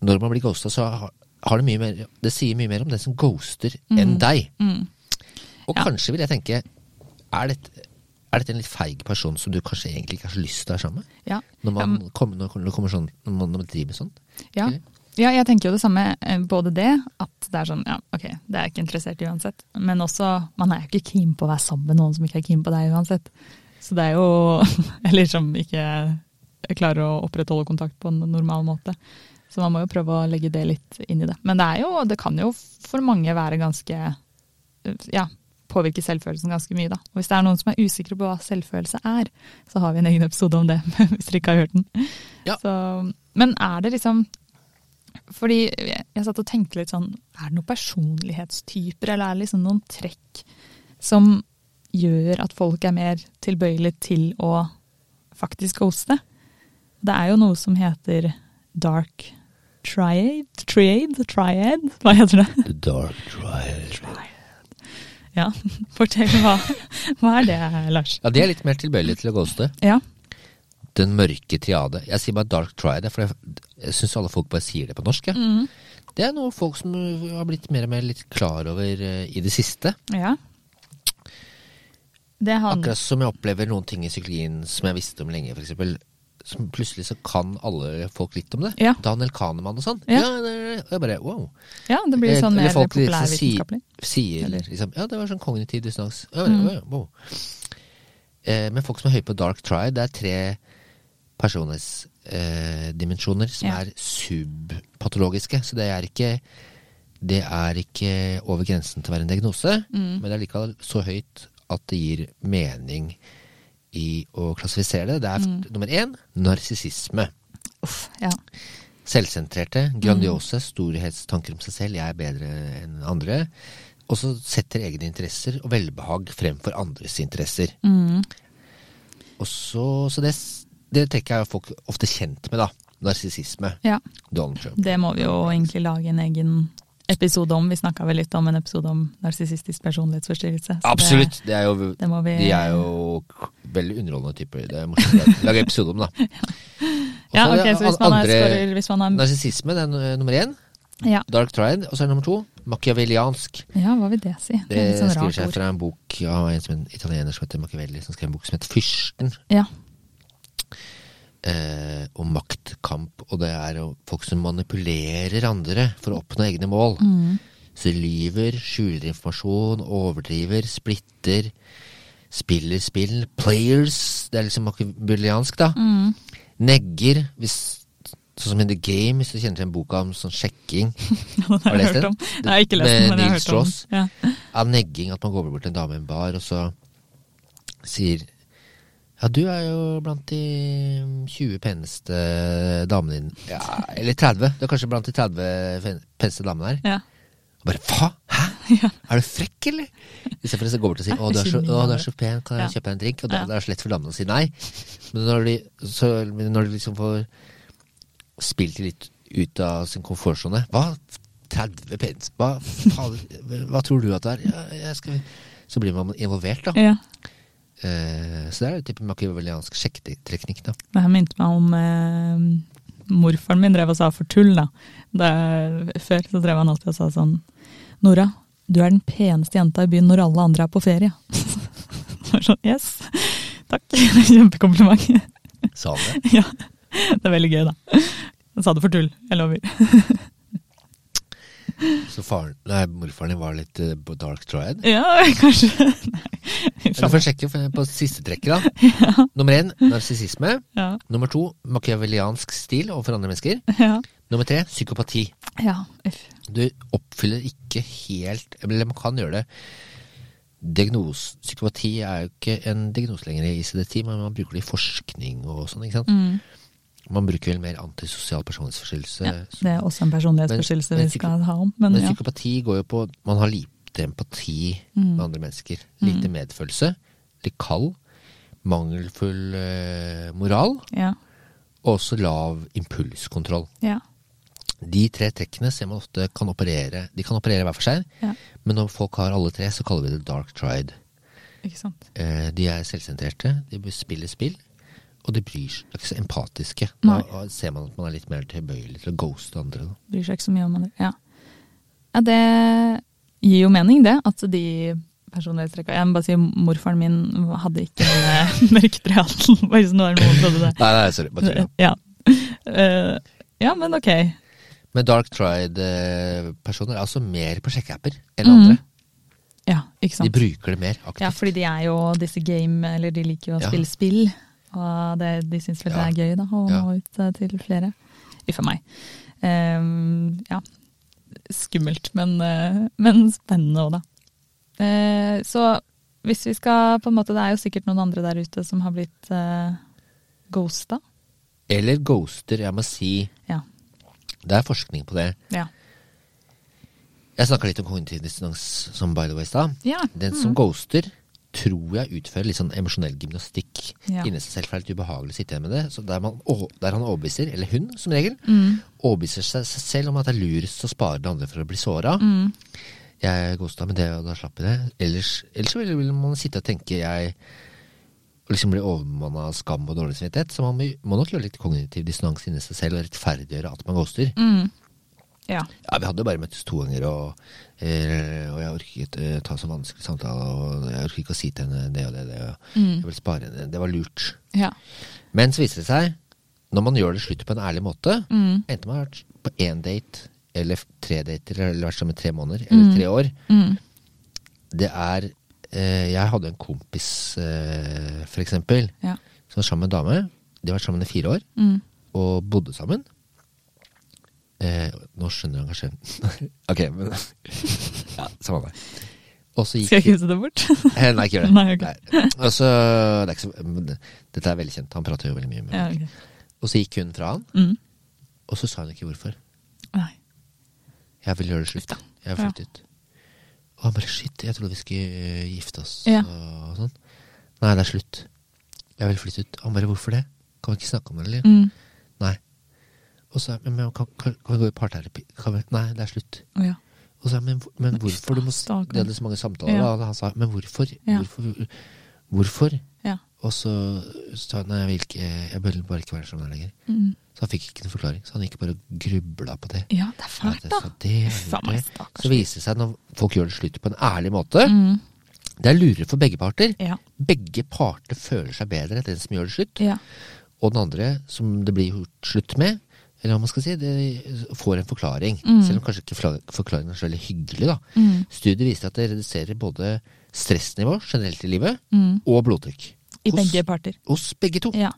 Speaker 3: når man blir ghosta, så har, har det mye mer Det sier mye mer om den som ghoster, enn deg.
Speaker 2: Mm.
Speaker 3: Og
Speaker 2: Ja.
Speaker 3: kanskje vil jeg tenke er dette, er dette en litt feig person som du kanskje egentlig ikke har så lyst til å være sammen med?
Speaker 2: Ja.
Speaker 3: Når
Speaker 2: Ja,
Speaker 3: man,
Speaker 2: men-
Speaker 3: kommer, når det kommer sånn, når man, når man driver med sånn?
Speaker 2: Ja.
Speaker 3: Eller?
Speaker 2: ja, jeg tenker jo det samme. eh, Både det, at det er sånn ja, ok, det er jeg ikke interessert i uansett. Men også, man er jo ikke keen på å være sammen med noen som ikke er keen på deg uansett. Så det er jo (laughs) Eller som ikke klarer å opprettholde kontakt på en normal måte. Så man må jo prøve å legge det litt inn i det. Men det er jo, det kan jo for mange være ganske eh, Ja, påvirke selvfølelsen ganske mye, da. Og hvis det er noen som er usikre på hva selvfølelse er, så har vi en egen episode om det, (laughs) hvis dere ikke har hørt den.
Speaker 3: Ja.
Speaker 2: Så, men er det liksom Fordi jeg, jeg satt og tenkte litt sånn Er det noen personlighetstyper, eller er det liksom noen trekk som gjør at folk er mer tilbøyelige til å faktisk ghoste? Det er jo noe som heter dark triad? Triad? Triad? Hva heter det? (laughs)
Speaker 3: The dark trial.
Speaker 2: Ja, fortell hva, hva er det, Lars?
Speaker 3: Ja, de er litt mer tilbøyelige til å ghoste.
Speaker 2: Ja.
Speaker 3: Den mørke triade. Jeg sier bare dark triad, for jeg, jeg syns alle folk bare sier det på norsk. jeg.
Speaker 2: Mm.
Speaker 3: Det er noe folk som har blitt mer og mer litt klar over eh, i det siste.
Speaker 2: Ja. Det han
Speaker 3: Akkurat som jeg opplever noen ting i psykologien som jeg visste om lenge, for eksempel. Som plutselig så kan alle folk litt om det.
Speaker 2: Ja.
Speaker 3: Daniel Kahneman og sånn.
Speaker 2: Ja.
Speaker 3: det, og jeg bare wow.
Speaker 2: Ja, det blir sånn
Speaker 3: Eller
Speaker 2: mer
Speaker 3: folk liksom
Speaker 2: populærvitenskapelig.
Speaker 3: Sier
Speaker 2: Eller- Mm.
Speaker 3: liksom Ja, det var sånn kognitiv dissonans. Ja, ja, ja, wow. Eh, men folk som er høye på dark try, det er tre personlighetsdimensjoner eh, dimensjoner som
Speaker 2: Ja.
Speaker 3: er subpatologiske. Så det er ikke det er ikke over grensen til å være en diagnose,
Speaker 2: Mm.
Speaker 3: men det er likevel så høyt at det gir mening i å klassifisere det. Det er
Speaker 2: Mm.
Speaker 3: f- nummer én narsissisme.
Speaker 2: Uff, ja.
Speaker 3: Selvsentrerte, grandiose, storhetstanker om seg selv, jeg er bedre enn andre. Og så setter egne interesser og velbehag fremfor andres interesser.
Speaker 2: Mm.
Speaker 3: Og så, så det, det tenker jeg er folk ofte kjent med, da. Narsissisme.
Speaker 2: ja.
Speaker 3: Donald Trump.
Speaker 2: Det må vi jo egentlig lage en egen episode om. Vi snakka vel litt om en episode om narsissistisk personlighetsforstyrrelse. så
Speaker 3: Absolutt! Det er jo,
Speaker 2: Det, det må vi
Speaker 3: de er jo veldig underholdende typer. Det er morsomt å lage episode
Speaker 2: (laughs)
Speaker 3: om, da. Og
Speaker 2: Ja,
Speaker 3: så er
Speaker 2: ok,
Speaker 3: det
Speaker 2: så hvis man er
Speaker 3: altså, andre-
Speaker 2: scorer hvis man er,
Speaker 3: Narsissisme, det er nu- nummer én.
Speaker 2: ja.
Speaker 3: Dark Triad. Og så er det nummer to machiavelliansk.
Speaker 2: ja, hva vil det si?
Speaker 3: Det
Speaker 2: er litt sånn
Speaker 3: skriver
Speaker 2: rart
Speaker 3: seg
Speaker 2: ord.
Speaker 3: fra en bok av en, som en italiener som heter Machiavelli, som skrev en bok som het Fyrsten.
Speaker 2: Ja.
Speaker 3: Eh, og maktkamp. Og det er jo folk som manipulerer andre for å oppnå egne mål.
Speaker 2: Mm.
Speaker 3: Så de lyver, skjuler informasjon, overdriver, splitter, spiller spill. Players, det er liksom machiavelliansk, da.
Speaker 2: Mm. (laughs)
Speaker 3: Negger, hvis, sånn som in The Game, hvis du kjenner til en boka om sånn sjekking.
Speaker 2: Den har
Speaker 3: du
Speaker 2: jeg
Speaker 3: lest
Speaker 2: hørt
Speaker 3: den?
Speaker 2: om. Nei, jeg har ikke lest
Speaker 3: Med
Speaker 2: den, men jeg har hørt
Speaker 3: Nils
Speaker 2: om
Speaker 3: Strauss?
Speaker 2: den. Ja.
Speaker 3: av negging at man går bort til en dame i en bar, og så sier ja, du er jo blant de 20 peneste damene dine. Ja, eller 30. Du er kanskje blant de 30 pen- peneste damene her.
Speaker 2: Ja.
Speaker 3: Og bare faen!
Speaker 2: (laughs)
Speaker 3: Hæ? Er du frekk, eller? Istedenfor å gå bort og si
Speaker 2: Nei,
Speaker 3: å du, er så,
Speaker 2: skyld meg,
Speaker 3: å, du
Speaker 2: bare.
Speaker 3: er så pen, kan jeg
Speaker 2: Ja.
Speaker 3: kjøpe deg en drink? Og da
Speaker 2: Ja.
Speaker 3: det er det så lett for damene å si nei. Men når de, så, men når de liksom får spilt de litt ut av sin komfortsone Hva? 30 pence? Hva, faen, hva tror du at det er? Ja, jeg skal, så blir man involvert, da.
Speaker 2: Ja.
Speaker 3: Eh, så det er jo type makiaveliansk sjekketeknikk, da.
Speaker 2: Det her minte meg om eh, morfaren min drev og sa for tull, da. da. Før så drev han alltid og sa sånn Nora, du er den peneste jenta i byen når alle andre er på ferie. (laughs) Det var sånn, yes, takk. (laughs) Kjempekompliment.
Speaker 3: Sa han det?
Speaker 2: ja, det er veldig gøy, da. Han sa det for tull, jeg lover.
Speaker 3: Så faren, nei, morfaren din var litt eh, på dark triad?
Speaker 2: Ja, kanskje. Nei,
Speaker 3: Du får sjekke på siste trekket,
Speaker 2: (laughs)
Speaker 3: da. Nummer én narsissisme.
Speaker 2: Ja,
Speaker 3: Nummer to makiaveliansk stil overfor andre mennesker.
Speaker 2: ja.
Speaker 3: Nummer tre psykopati.
Speaker 2: Ja, uff.
Speaker 3: Du oppfyller ikke helt Eller man kan gjøre det. Diagnos, psykopati er jo ikke en diagnose lenger i ICD-10, men man bruker det i forskning og sånn. ikke sant?
Speaker 2: Mm.
Speaker 3: Man bruker vel mer antisosial personlighetsforstyrrelse.
Speaker 2: Ja, det er også en personlighetsforstyrrelse
Speaker 3: Men- men
Speaker 2: vi skal ha om, men
Speaker 3: Men
Speaker 2: ja.
Speaker 3: psykopati går jo på at man har lite empati
Speaker 2: Mm.
Speaker 3: med andre mennesker. Lite medfølelse. Litt kald. Mangelfull eh, moral.
Speaker 2: Ja,
Speaker 3: Og også lav impulskontroll.
Speaker 2: ja,
Speaker 3: De tre trekkene ser man ofte kan operere De kan operere hver for seg,
Speaker 2: Ja.
Speaker 3: men når folk har alle tre, så kaller vi det dark tried.
Speaker 2: ikke sant.
Speaker 3: Eh, de er selvsentrerte, de spiller spill, og de bryr seg de er ikke så empatiske. Da ser man at man er litt mer tilbøyelig til å ghoste andre. Da.
Speaker 2: Bryr seg ikke så mye om andre. Ja. ja, det gir jo mening, det. At de personlighetstrekka Jeg må bare si morfaren min hadde ikke (laughs) den mørktriaten, (laughs) bare så nå er det noen som trodde det.
Speaker 3: Nei, nei, sorry. Bare tuller.
Speaker 2: Ja. Eh, ja, men ok.
Speaker 3: (laughs) Men dark tried-personer er altså mer på sjekkeapper enn
Speaker 2: Mm,
Speaker 3: andre.
Speaker 2: Ja, ikke
Speaker 3: De
Speaker 2: sant.
Speaker 3: bruker det mer
Speaker 2: Ja,
Speaker 3: aktivt.
Speaker 2: fordi de er jo disse game, eller de liker jo å
Speaker 3: Ja.
Speaker 2: spille spill. Og det, de syns vel det
Speaker 3: Ja.
Speaker 2: er gøy, da, å
Speaker 3: Ja.
Speaker 2: nå ut eh, til flere. Uff a meg. Ehm, ja. Skummelt, men, eh, men spennende òg, da. Eh, så hvis vi skal på en måte Det er jo sikkert noen andre der ute som har blitt uh, ghosta.
Speaker 3: Eller ghoster, jeg må si.
Speaker 2: Ja.
Speaker 3: Det er forskning på det.
Speaker 2: Ja.
Speaker 3: Jeg snakka litt om kognitiv dissonans, som by the way i stad.
Speaker 2: Ja. Mm.
Speaker 3: Den som ghoster, tror jeg utfører litt sånn emosjonell gymnastikk
Speaker 2: Ja.
Speaker 3: inni seg selv. For det er litt ubehagelig å sitte igjen med det. Så der, man, å- der han overbeviser, eller hun som regel,
Speaker 2: Mm.
Speaker 3: overbeviser seg, seg selv om at det er lurest å spare det andre for å bli såra.
Speaker 2: Mm.
Speaker 3: Jeg ghosta med det, og da slapp jeg det. Ellers, ellers så vil vil man sitte og tenke jeg og liksom bli overmanna av skam og dårlig samvittighet. Så man må, må nok gjøre litt kognitiv dissonans inni seg selv og rettferdiggjøre at man ghoster.
Speaker 2: Mm. Ja.
Speaker 3: Ja, Vi hadde jo bare møttes to ganger, og, eh, og jeg orker ikke eh, ta så vanskelig samtale. Og jeg orker ikke å si til henne det og det. det og
Speaker 2: Mm.
Speaker 3: Jeg vil spare henne. Det var lurt.
Speaker 2: Ja.
Speaker 3: Men så viser det seg, når man gjør det slutt på en ærlig måte,
Speaker 2: Mm.
Speaker 3: enten man har vært på én date eller f- tre dater eller vært sammen i tre måneder eller tre år,
Speaker 2: Mm.
Speaker 3: det er eh, Jeg hadde en kompis, eh, for eksempel,
Speaker 2: Ja.
Speaker 3: som var sammen med en dame. De har vært sammen i fire år
Speaker 2: Mm.
Speaker 3: og bodde sammen. Eh, nå skjønner han kanskje (laughs) Ok, men Ja, samme det. Og så
Speaker 2: Skal jeg
Speaker 3: gikk
Speaker 2: kutte det bort? (laughs)
Speaker 3: Eh, Nei, ikke gjør det.
Speaker 2: Nei, ok.
Speaker 3: Nei. Og så, det er ikke så, men det- Dette er veldig kjent. Han prater jo veldig mye med
Speaker 2: ja,
Speaker 3: folk.
Speaker 2: ok.
Speaker 3: Og så gikk hun fra han,
Speaker 2: mm.
Speaker 3: og så sa hun ikke hvorfor.
Speaker 2: Nei.
Speaker 3: Jeg vil gjøre det slutt. Jeg har
Speaker 2: Ja.
Speaker 3: flyttet ut. Og han bare shit, jeg trodde vi skulle eh, gifte oss
Speaker 2: Ja.
Speaker 3: og sånn. Nei, det er slutt. Jeg vil flytte ut. Han bare hvorfor det? Kan vi ikke snakke om det, eller?
Speaker 2: Mm.
Speaker 3: Nei. Og så men, men, kan, kan, kan vi gå i parterapi? Kan vi? Nei, det er slutt.
Speaker 2: Å ja.
Speaker 3: Og så, men, men hvorfor? Du må,
Speaker 2: stakkars.
Speaker 3: det hadde så mange samtaler,
Speaker 2: Ja.
Speaker 3: da. og Han sa men hvorfor?
Speaker 2: Ja.
Speaker 3: Hvorfor? hvorfor?
Speaker 2: Ja.
Speaker 3: Og så sa han nei, jeg vil ikke, jeg vil bare ikke være sammen her lenger.
Speaker 2: Mm.
Speaker 3: Så han fikk ikke noen forklaring. Så han gikk bare og grubla på det.
Speaker 2: Ja, det er
Speaker 3: Nei,
Speaker 2: fælt,
Speaker 3: det
Speaker 2: da.
Speaker 3: sa det, jeg
Speaker 2: Uffa
Speaker 3: gjorde
Speaker 2: meg,
Speaker 3: det. Så
Speaker 2: stakkars.
Speaker 3: viser det seg når folk gjør det slutt på en ærlig måte,
Speaker 2: Mm.
Speaker 3: det er lurere for begge parter.
Speaker 2: Ja.
Speaker 3: Begge parter føler seg bedre etter den som gjør det slutt,
Speaker 2: ja.
Speaker 3: og den andre som det blir gjort slutt med, eller hva man skal si, det får en forklaring. Selv om kanskje ikke fla- forklaringen er så veldig hyggelig, da.
Speaker 2: Mm.
Speaker 3: Studier viser at det reduserer både stressnivå generelt i livet,
Speaker 2: Mm.
Speaker 3: og blodtrykk.
Speaker 2: I
Speaker 3: Hos-
Speaker 2: begge parter.
Speaker 3: Hos begge to.
Speaker 2: Ja.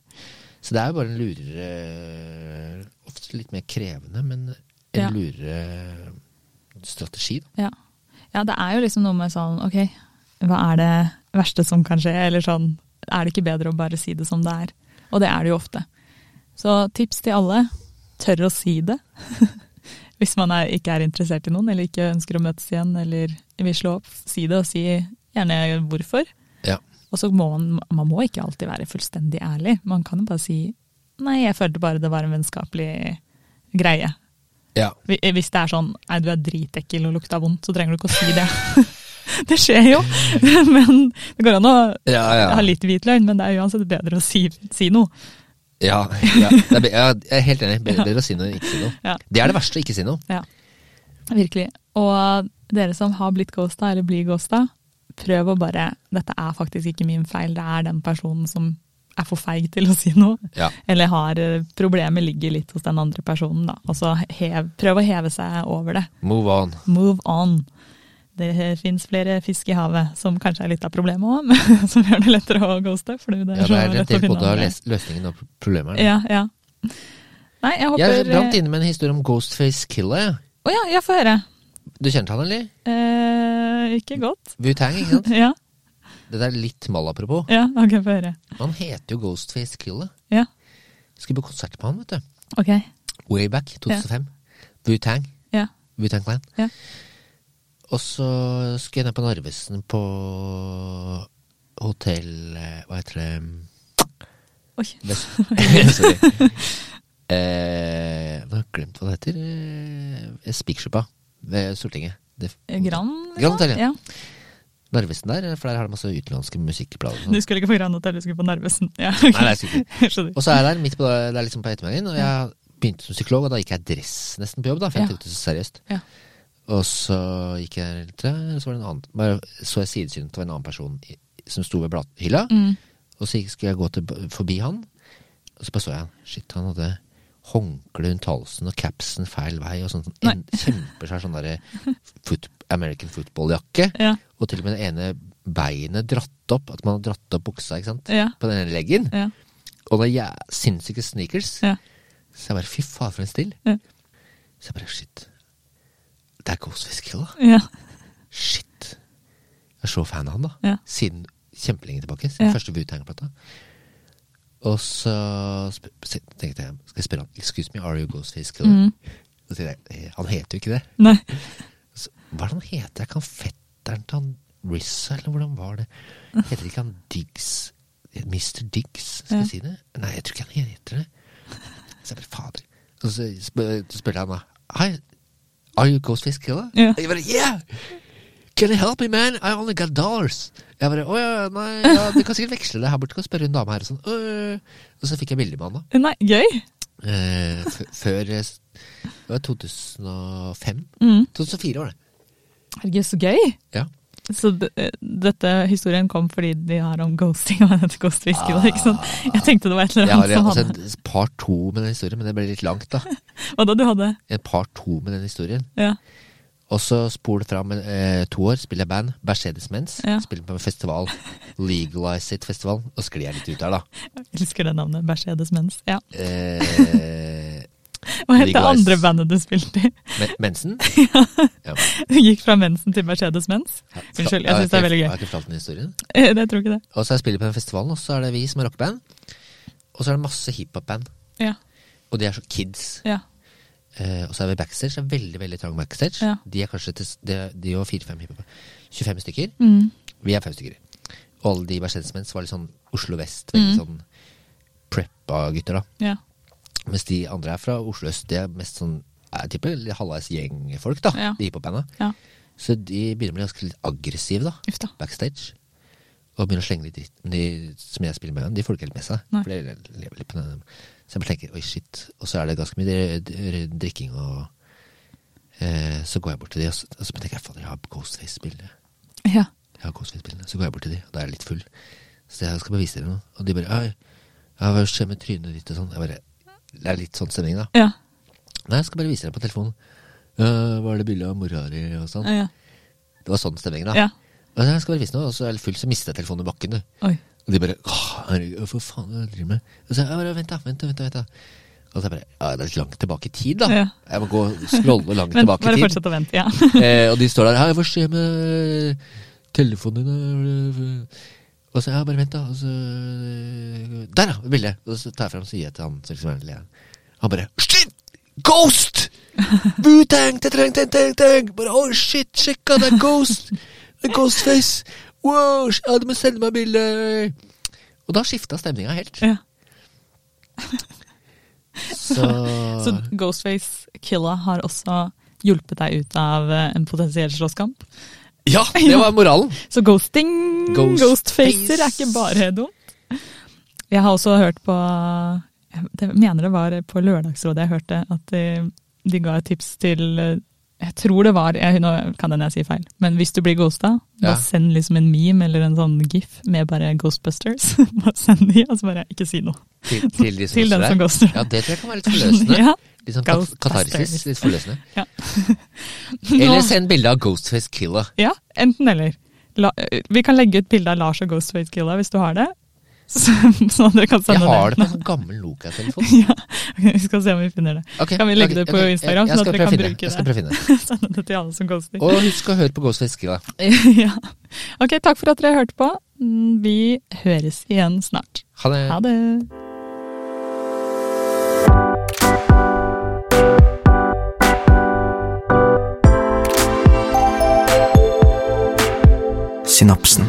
Speaker 3: Så det er jo bare en lurere Ofte litt mer krevende, men en
Speaker 2: Ja.
Speaker 3: lurere eh, strategi. Da.
Speaker 2: Ja. ja, det er jo liksom noe med sånn ok, hva er det verste som kan skje? Eller sånn, er det ikke bedre å bare si det som det er? Og det er det jo ofte. Så tips til alle, tør å si det. (laughs) Hvis man er, ikke er interessert i noen, eller ikke ønsker å møtes igjen, eller vil slå opp, si det, og si gjerne hvorfor.
Speaker 3: Ja.
Speaker 2: Og så må man, man må ikke alltid være fullstendig ærlig. Man kan jo bare si nei, jeg følte bare det var en vennskapelig greie.
Speaker 3: Ja.
Speaker 2: Hvi- Hvis det er sånn nei, du er dritekkel og lukta vondt, så trenger du ikke å si det. (laughs) det skjer jo, (laughs) men det går an å
Speaker 3: Ja,
Speaker 2: ha litt hvit løgn, men det er uansett bedre å si, si noe. (laughs)
Speaker 3: Ja, ja. Det er, be- ja, jeg er helt enig. Bedre å si noe enn ikke si noe.
Speaker 2: Ja.
Speaker 3: Det er det verste å ikke si noe.
Speaker 2: Ja, virkelig. Og dere som har blitt ghosta eller blir ghosta, prøv å bare Dette er faktisk ikke min feil, det er den personen som er for feig til å si noe.
Speaker 3: Ja.
Speaker 2: Eller har eh, problemet ligger litt hos den andre personen, da. Og så hev, prøv å heve seg over det.
Speaker 3: Move on.
Speaker 2: Move on. Det fins flere fisk i havet, som kanskje er litt av problemet òg, (laughs) men som gjør det lettere å ghoste. Fordi det er
Speaker 3: Ja, det
Speaker 2: så
Speaker 3: er
Speaker 2: lett
Speaker 3: rett
Speaker 2: å
Speaker 3: til
Speaker 2: finne
Speaker 3: både
Speaker 2: andre.
Speaker 3: les- løsningen og problemet.
Speaker 2: Ja, ja. Nei, jeg håper
Speaker 3: Jeg brant
Speaker 2: Å
Speaker 3: inne med en historie om Ghostface Killer. jeg.
Speaker 2: ja, jeg får høre.
Speaker 3: Du kjente han, eller?
Speaker 2: Eh, ikke godt.
Speaker 3: Wu-Tang, ikke sant?
Speaker 2: (laughs) Ja,
Speaker 3: Det er litt mal apropos.
Speaker 2: ja, ok, få høre.
Speaker 3: Han heter jo Ghostface Killer.
Speaker 2: Ja,
Speaker 3: Jeg skulle på konsert med han, vet du.
Speaker 2: ok.
Speaker 3: Way back, 2005. Wu-Tang.
Speaker 2: Ja,
Speaker 3: Wu-Tang Clan.
Speaker 2: Ja.
Speaker 3: Og så skulle jeg ned på Narvesen på hotell eh, Hva heter det?
Speaker 2: oi.
Speaker 3: Vest...
Speaker 2: (laughs)
Speaker 3: (laughs) Sorry. Eh, nå har jeg glemt hva det heter. Eh, Spikersuppa ved Stortinget. Det,
Speaker 2: Gran?
Speaker 3: Gran Hotel, ja.
Speaker 2: ja.
Speaker 3: Narvesen der, for der har de masse utenlandske musikkblader. og
Speaker 2: Du
Speaker 3: sånn.
Speaker 2: skulle ikke på Gran Hotel, du skulle på Narvesen. Ja, ok.
Speaker 3: Nei, det er sikkert.
Speaker 2: (laughs) Jeg skjønner.
Speaker 3: Og så er jeg der midt på, det er liksom på ettermiddagen, og jeg begynte som psykolog, og da gikk jeg i dress nesten på jobb, da, for jeg
Speaker 2: Ja.
Speaker 3: tok det så seriøst.
Speaker 2: Ja.
Speaker 3: Og så gikk jeg litt, der, og så var det en annen, bare så jeg sidesynet av en annen person i- som sto ved bladhylla,
Speaker 2: Mm.
Speaker 3: og så gikk- skulle jeg gå til, forbi han, og så bare så jeg han. Shit, han hadde håndkle rundt halsen og capsen feil vei og sånn. sånn en kjempesvær sånn derre foot, American football-jakke,
Speaker 2: Ja,
Speaker 3: og til og med det ene beinet dratt opp, at man har dratt opp buksa, ikke sant,
Speaker 2: ja,
Speaker 3: på den ene leggen.
Speaker 2: ja.
Speaker 3: Og det er jæ- sinnssyke sneakers.
Speaker 2: Ja.
Speaker 3: Så jeg bare fy faen for en stil.
Speaker 2: Ja.
Speaker 3: Så jeg bare shit. Det er Ghostface Killer.
Speaker 2: ja.
Speaker 3: Shit. Jeg er så fan av han, da.
Speaker 2: Ja.
Speaker 3: Siden kjempelenge tilbake. Siden
Speaker 2: Ja.
Speaker 3: første Wu-Tang-plata. Og så sp se- tenkte jeg skal jeg spørre han Excuse me, are you Ghostface Killer?
Speaker 2: Mm.
Speaker 3: Så sier jeg «Eh, han heter jo ikke det.
Speaker 2: Nei.
Speaker 3: Så, hva er det han heter? Er ikke han fetteren til han Rizza, eller hvordan var det? Heter ikke han Diggs? Mr. Diggs, skal
Speaker 2: Ja.
Speaker 3: jeg si det? Nei, jeg tror ikke han heter det. Så jeg bare, fader. Og så spør, så spurte han da, Hi, are you Ghostface Killer?
Speaker 2: Ja.
Speaker 3: Og jeg bare, yeah! Can you help me, man? I only got dollars. Jeg bare, åja, nei, ja, du kan sikkert veksle det her borte, kan spørre en dame her og sånn. «Øh». Og så fikk jeg bilde med han da.
Speaker 2: Nei, gøy.
Speaker 3: Eh, f- før, eh, s- det var 2005?
Speaker 2: Mm.
Speaker 3: 2004 var det.
Speaker 2: Herregud, så gøy.
Speaker 3: Ja.
Speaker 2: Så d- eh, dette historien kom fordi de har om ghosting (laughs) og dette ghostfisket, ah, ikke sant? Jeg tenkte det var et eller
Speaker 3: Jeg har
Speaker 2: annet
Speaker 3: jeg
Speaker 2: som
Speaker 3: har også
Speaker 2: hadde
Speaker 3: en altså, par to med den historien, men det ble litt langt, da.
Speaker 2: Hva da du hadde?
Speaker 3: En par to med den historien.
Speaker 2: Ja,
Speaker 3: Og så spol fram eh, to år, spiller jeg band, Mercedes Mens.
Speaker 2: Ja.
Speaker 3: Spiller på en festival, Legalize It-festival. Og sklir jeg litt ut der, da.
Speaker 2: jeg elsker det navnet. Mercedes Mens. Ja.
Speaker 3: Eh,
Speaker 2: Hva het det
Speaker 3: Legalize.
Speaker 2: andre bandet du spilte i? (laughs)
Speaker 3: men, mensen? Ja.
Speaker 2: Du gikk fra mensen til Mercedes Mens?
Speaker 3: Ja,
Speaker 2: Unnskyld, jeg syns det er veldig
Speaker 3: Jeg
Speaker 2: gøy.
Speaker 3: har ikke fortalt den historien.
Speaker 2: Eh, (laughs) Jeg tror ikke det.
Speaker 3: Og så jeg spiller på den festivalen, og så er det vi som er rockeband. Og så er det masse hiphop-band.
Speaker 2: Ja,
Speaker 3: Og de er så kids.
Speaker 2: ja,
Speaker 3: Eh, og så er vi backstage. Det er veldig veldig trang backstage.
Speaker 2: Ja.
Speaker 3: De er kanskje til, de, de var fire-fem hiphopere. 25 stykker.
Speaker 2: Mm.
Speaker 3: Vi er fem stykker. Og alle de Mercedes-mens var litt sånn Oslo vest. Veldig
Speaker 2: Mm.
Speaker 3: sånn preppa gutter, da.
Speaker 2: ja.
Speaker 3: Mens de andre er fra Oslo øst. De er mest sånn jeg tipper litt halvveis gjengfolk, da.
Speaker 2: Ja.
Speaker 3: De hiphop-banda.
Speaker 2: ja.
Speaker 3: Så de begynner å bli ganske litt aggressive, da.
Speaker 2: Uff da.
Speaker 3: Backstage. og begynner å slenge litt dritt. Men De som jeg spiller med, de får ikke helt med seg.
Speaker 2: Nei.
Speaker 3: For de lever litt på den. Så jeg bare tenker oi, shit. Og så er det ganske mye dri- dri- drikking og eh, Så går jeg bort til de, og så, og så tenker jeg fader, jeg har Ghostface-bildet.
Speaker 2: Ja.
Speaker 3: Jeg har Ghostface-bildene. Så går jeg bort til de, og da er jeg litt full. Så jeg skal bare vise dere noe. Og de bare «Ai, ja, hva skjer med trynet ditt og sånn? Jeg bare, Det er litt sånn stemning, da.
Speaker 2: Ja.
Speaker 3: Nei, jeg skal bare vise deg på telefonen. Uh, var det bilde av mora di og sånn?
Speaker 2: ja.
Speaker 3: Det var sånn stemning, da.
Speaker 2: ja.
Speaker 3: Og jeg skal bare vise noe, og så er jeg full, så mister jeg telefonen i bakken. du.
Speaker 2: Oi.
Speaker 3: Og de bare «Åh, herregud, Hva faen er det du driver med? Og så jeg bare vent, da. Vent, da, vent, da, vent, da. Og så er jeg bare Ja, det er litt langt tilbake i tid, da.
Speaker 2: Ja.
Speaker 3: Jeg må gå og scrolle langt
Speaker 2: Men
Speaker 3: tilbake
Speaker 2: bare
Speaker 3: i tid.
Speaker 2: fortsett å vente. Ja. (laughs)
Speaker 3: Eh, og de står der. «Hei, Hva skjer med telefonen din? da?» Og så ja, bare vent, da. Og så eh, Der, ja! Bildet. Og så tar jeg fram og sier jeg til han som liksom er lederen. Han bare Shit!
Speaker 2: (laughs)
Speaker 3: Ghost! Wu-tang, ta-trang, tang, tang, tang. Bare oh shit, sjekka, det er Ghost! Det er Ghostface! Wow! sh- Ja, du må sende meg bilde! Og da skifta stemninga helt.
Speaker 2: ja.
Speaker 3: Så,
Speaker 2: (laughs) Så
Speaker 3: Ah.
Speaker 2: Ghostface Killa har også hjulpet deg ut av eh, en potensiell slåsskamp.
Speaker 3: Ja, det var moralen!
Speaker 2: Så ghosting,
Speaker 3: Ghost-
Speaker 2: ghostfacer, er ikke bare dumt. Jeg har også hørt på Jeg mener det var på Lørdagsrådet jeg hørte at de, de ga et tips til eh, Jeg tror det var jeg, Nå kan hende jeg sier feil, men hvis du blir ghosta,
Speaker 3: Ja.
Speaker 2: da send liksom en meme eller en sånn gif med bare Ghostbusters. (laughs) Bare send de, og så bare ikke si noe.
Speaker 3: Til, til, de
Speaker 2: Til den
Speaker 3: sitter
Speaker 2: som
Speaker 3: der.
Speaker 2: ghoster.
Speaker 3: Ja, det tror jeg kan være litt forløsende.
Speaker 2: (laughs) Ja.
Speaker 3: Litt sånn kat
Speaker 2: Ghostbusters.
Speaker 3: katarsis. Litt forløsende.
Speaker 2: (laughs)
Speaker 3: (laughs)
Speaker 2: Ja.
Speaker 3: Eller send bilde av Ghostface Killer.
Speaker 2: Ja, enten eller. La, vi kan legge ut bilde av Lars og Ghostface Killa hvis du har det. (laughs) Så, sånn at dere kan
Speaker 3: Jeg
Speaker 2: sende
Speaker 3: har
Speaker 2: (laughs) det.
Speaker 3: det på en sånn
Speaker 2: (laughs)
Speaker 3: gammel Nokia-telefon.
Speaker 2: Ja, vi skal se om vi finner det.
Speaker 3: (laughs) Ok,
Speaker 2: Kan vi legge
Speaker 3: ok,
Speaker 2: det på
Speaker 3: ok.
Speaker 2: Instagram,
Speaker 3: Jeg- jeg
Speaker 2: sånn at
Speaker 3: skal
Speaker 2: dere kan
Speaker 3: prøve å finne
Speaker 2: bruke
Speaker 3: Jeg skal
Speaker 2: det?
Speaker 3: prøve å finne det.
Speaker 2: Sende det til alle som ghoster.
Speaker 3: Og husk å høre på Ghostface Killer.
Speaker 2: (laughs) ja. Ok, takk for at dere hørte på. Mm, Vi høres igjen snart.
Speaker 3: Ha det.
Speaker 2: Ha det.
Speaker 1: Synapsen.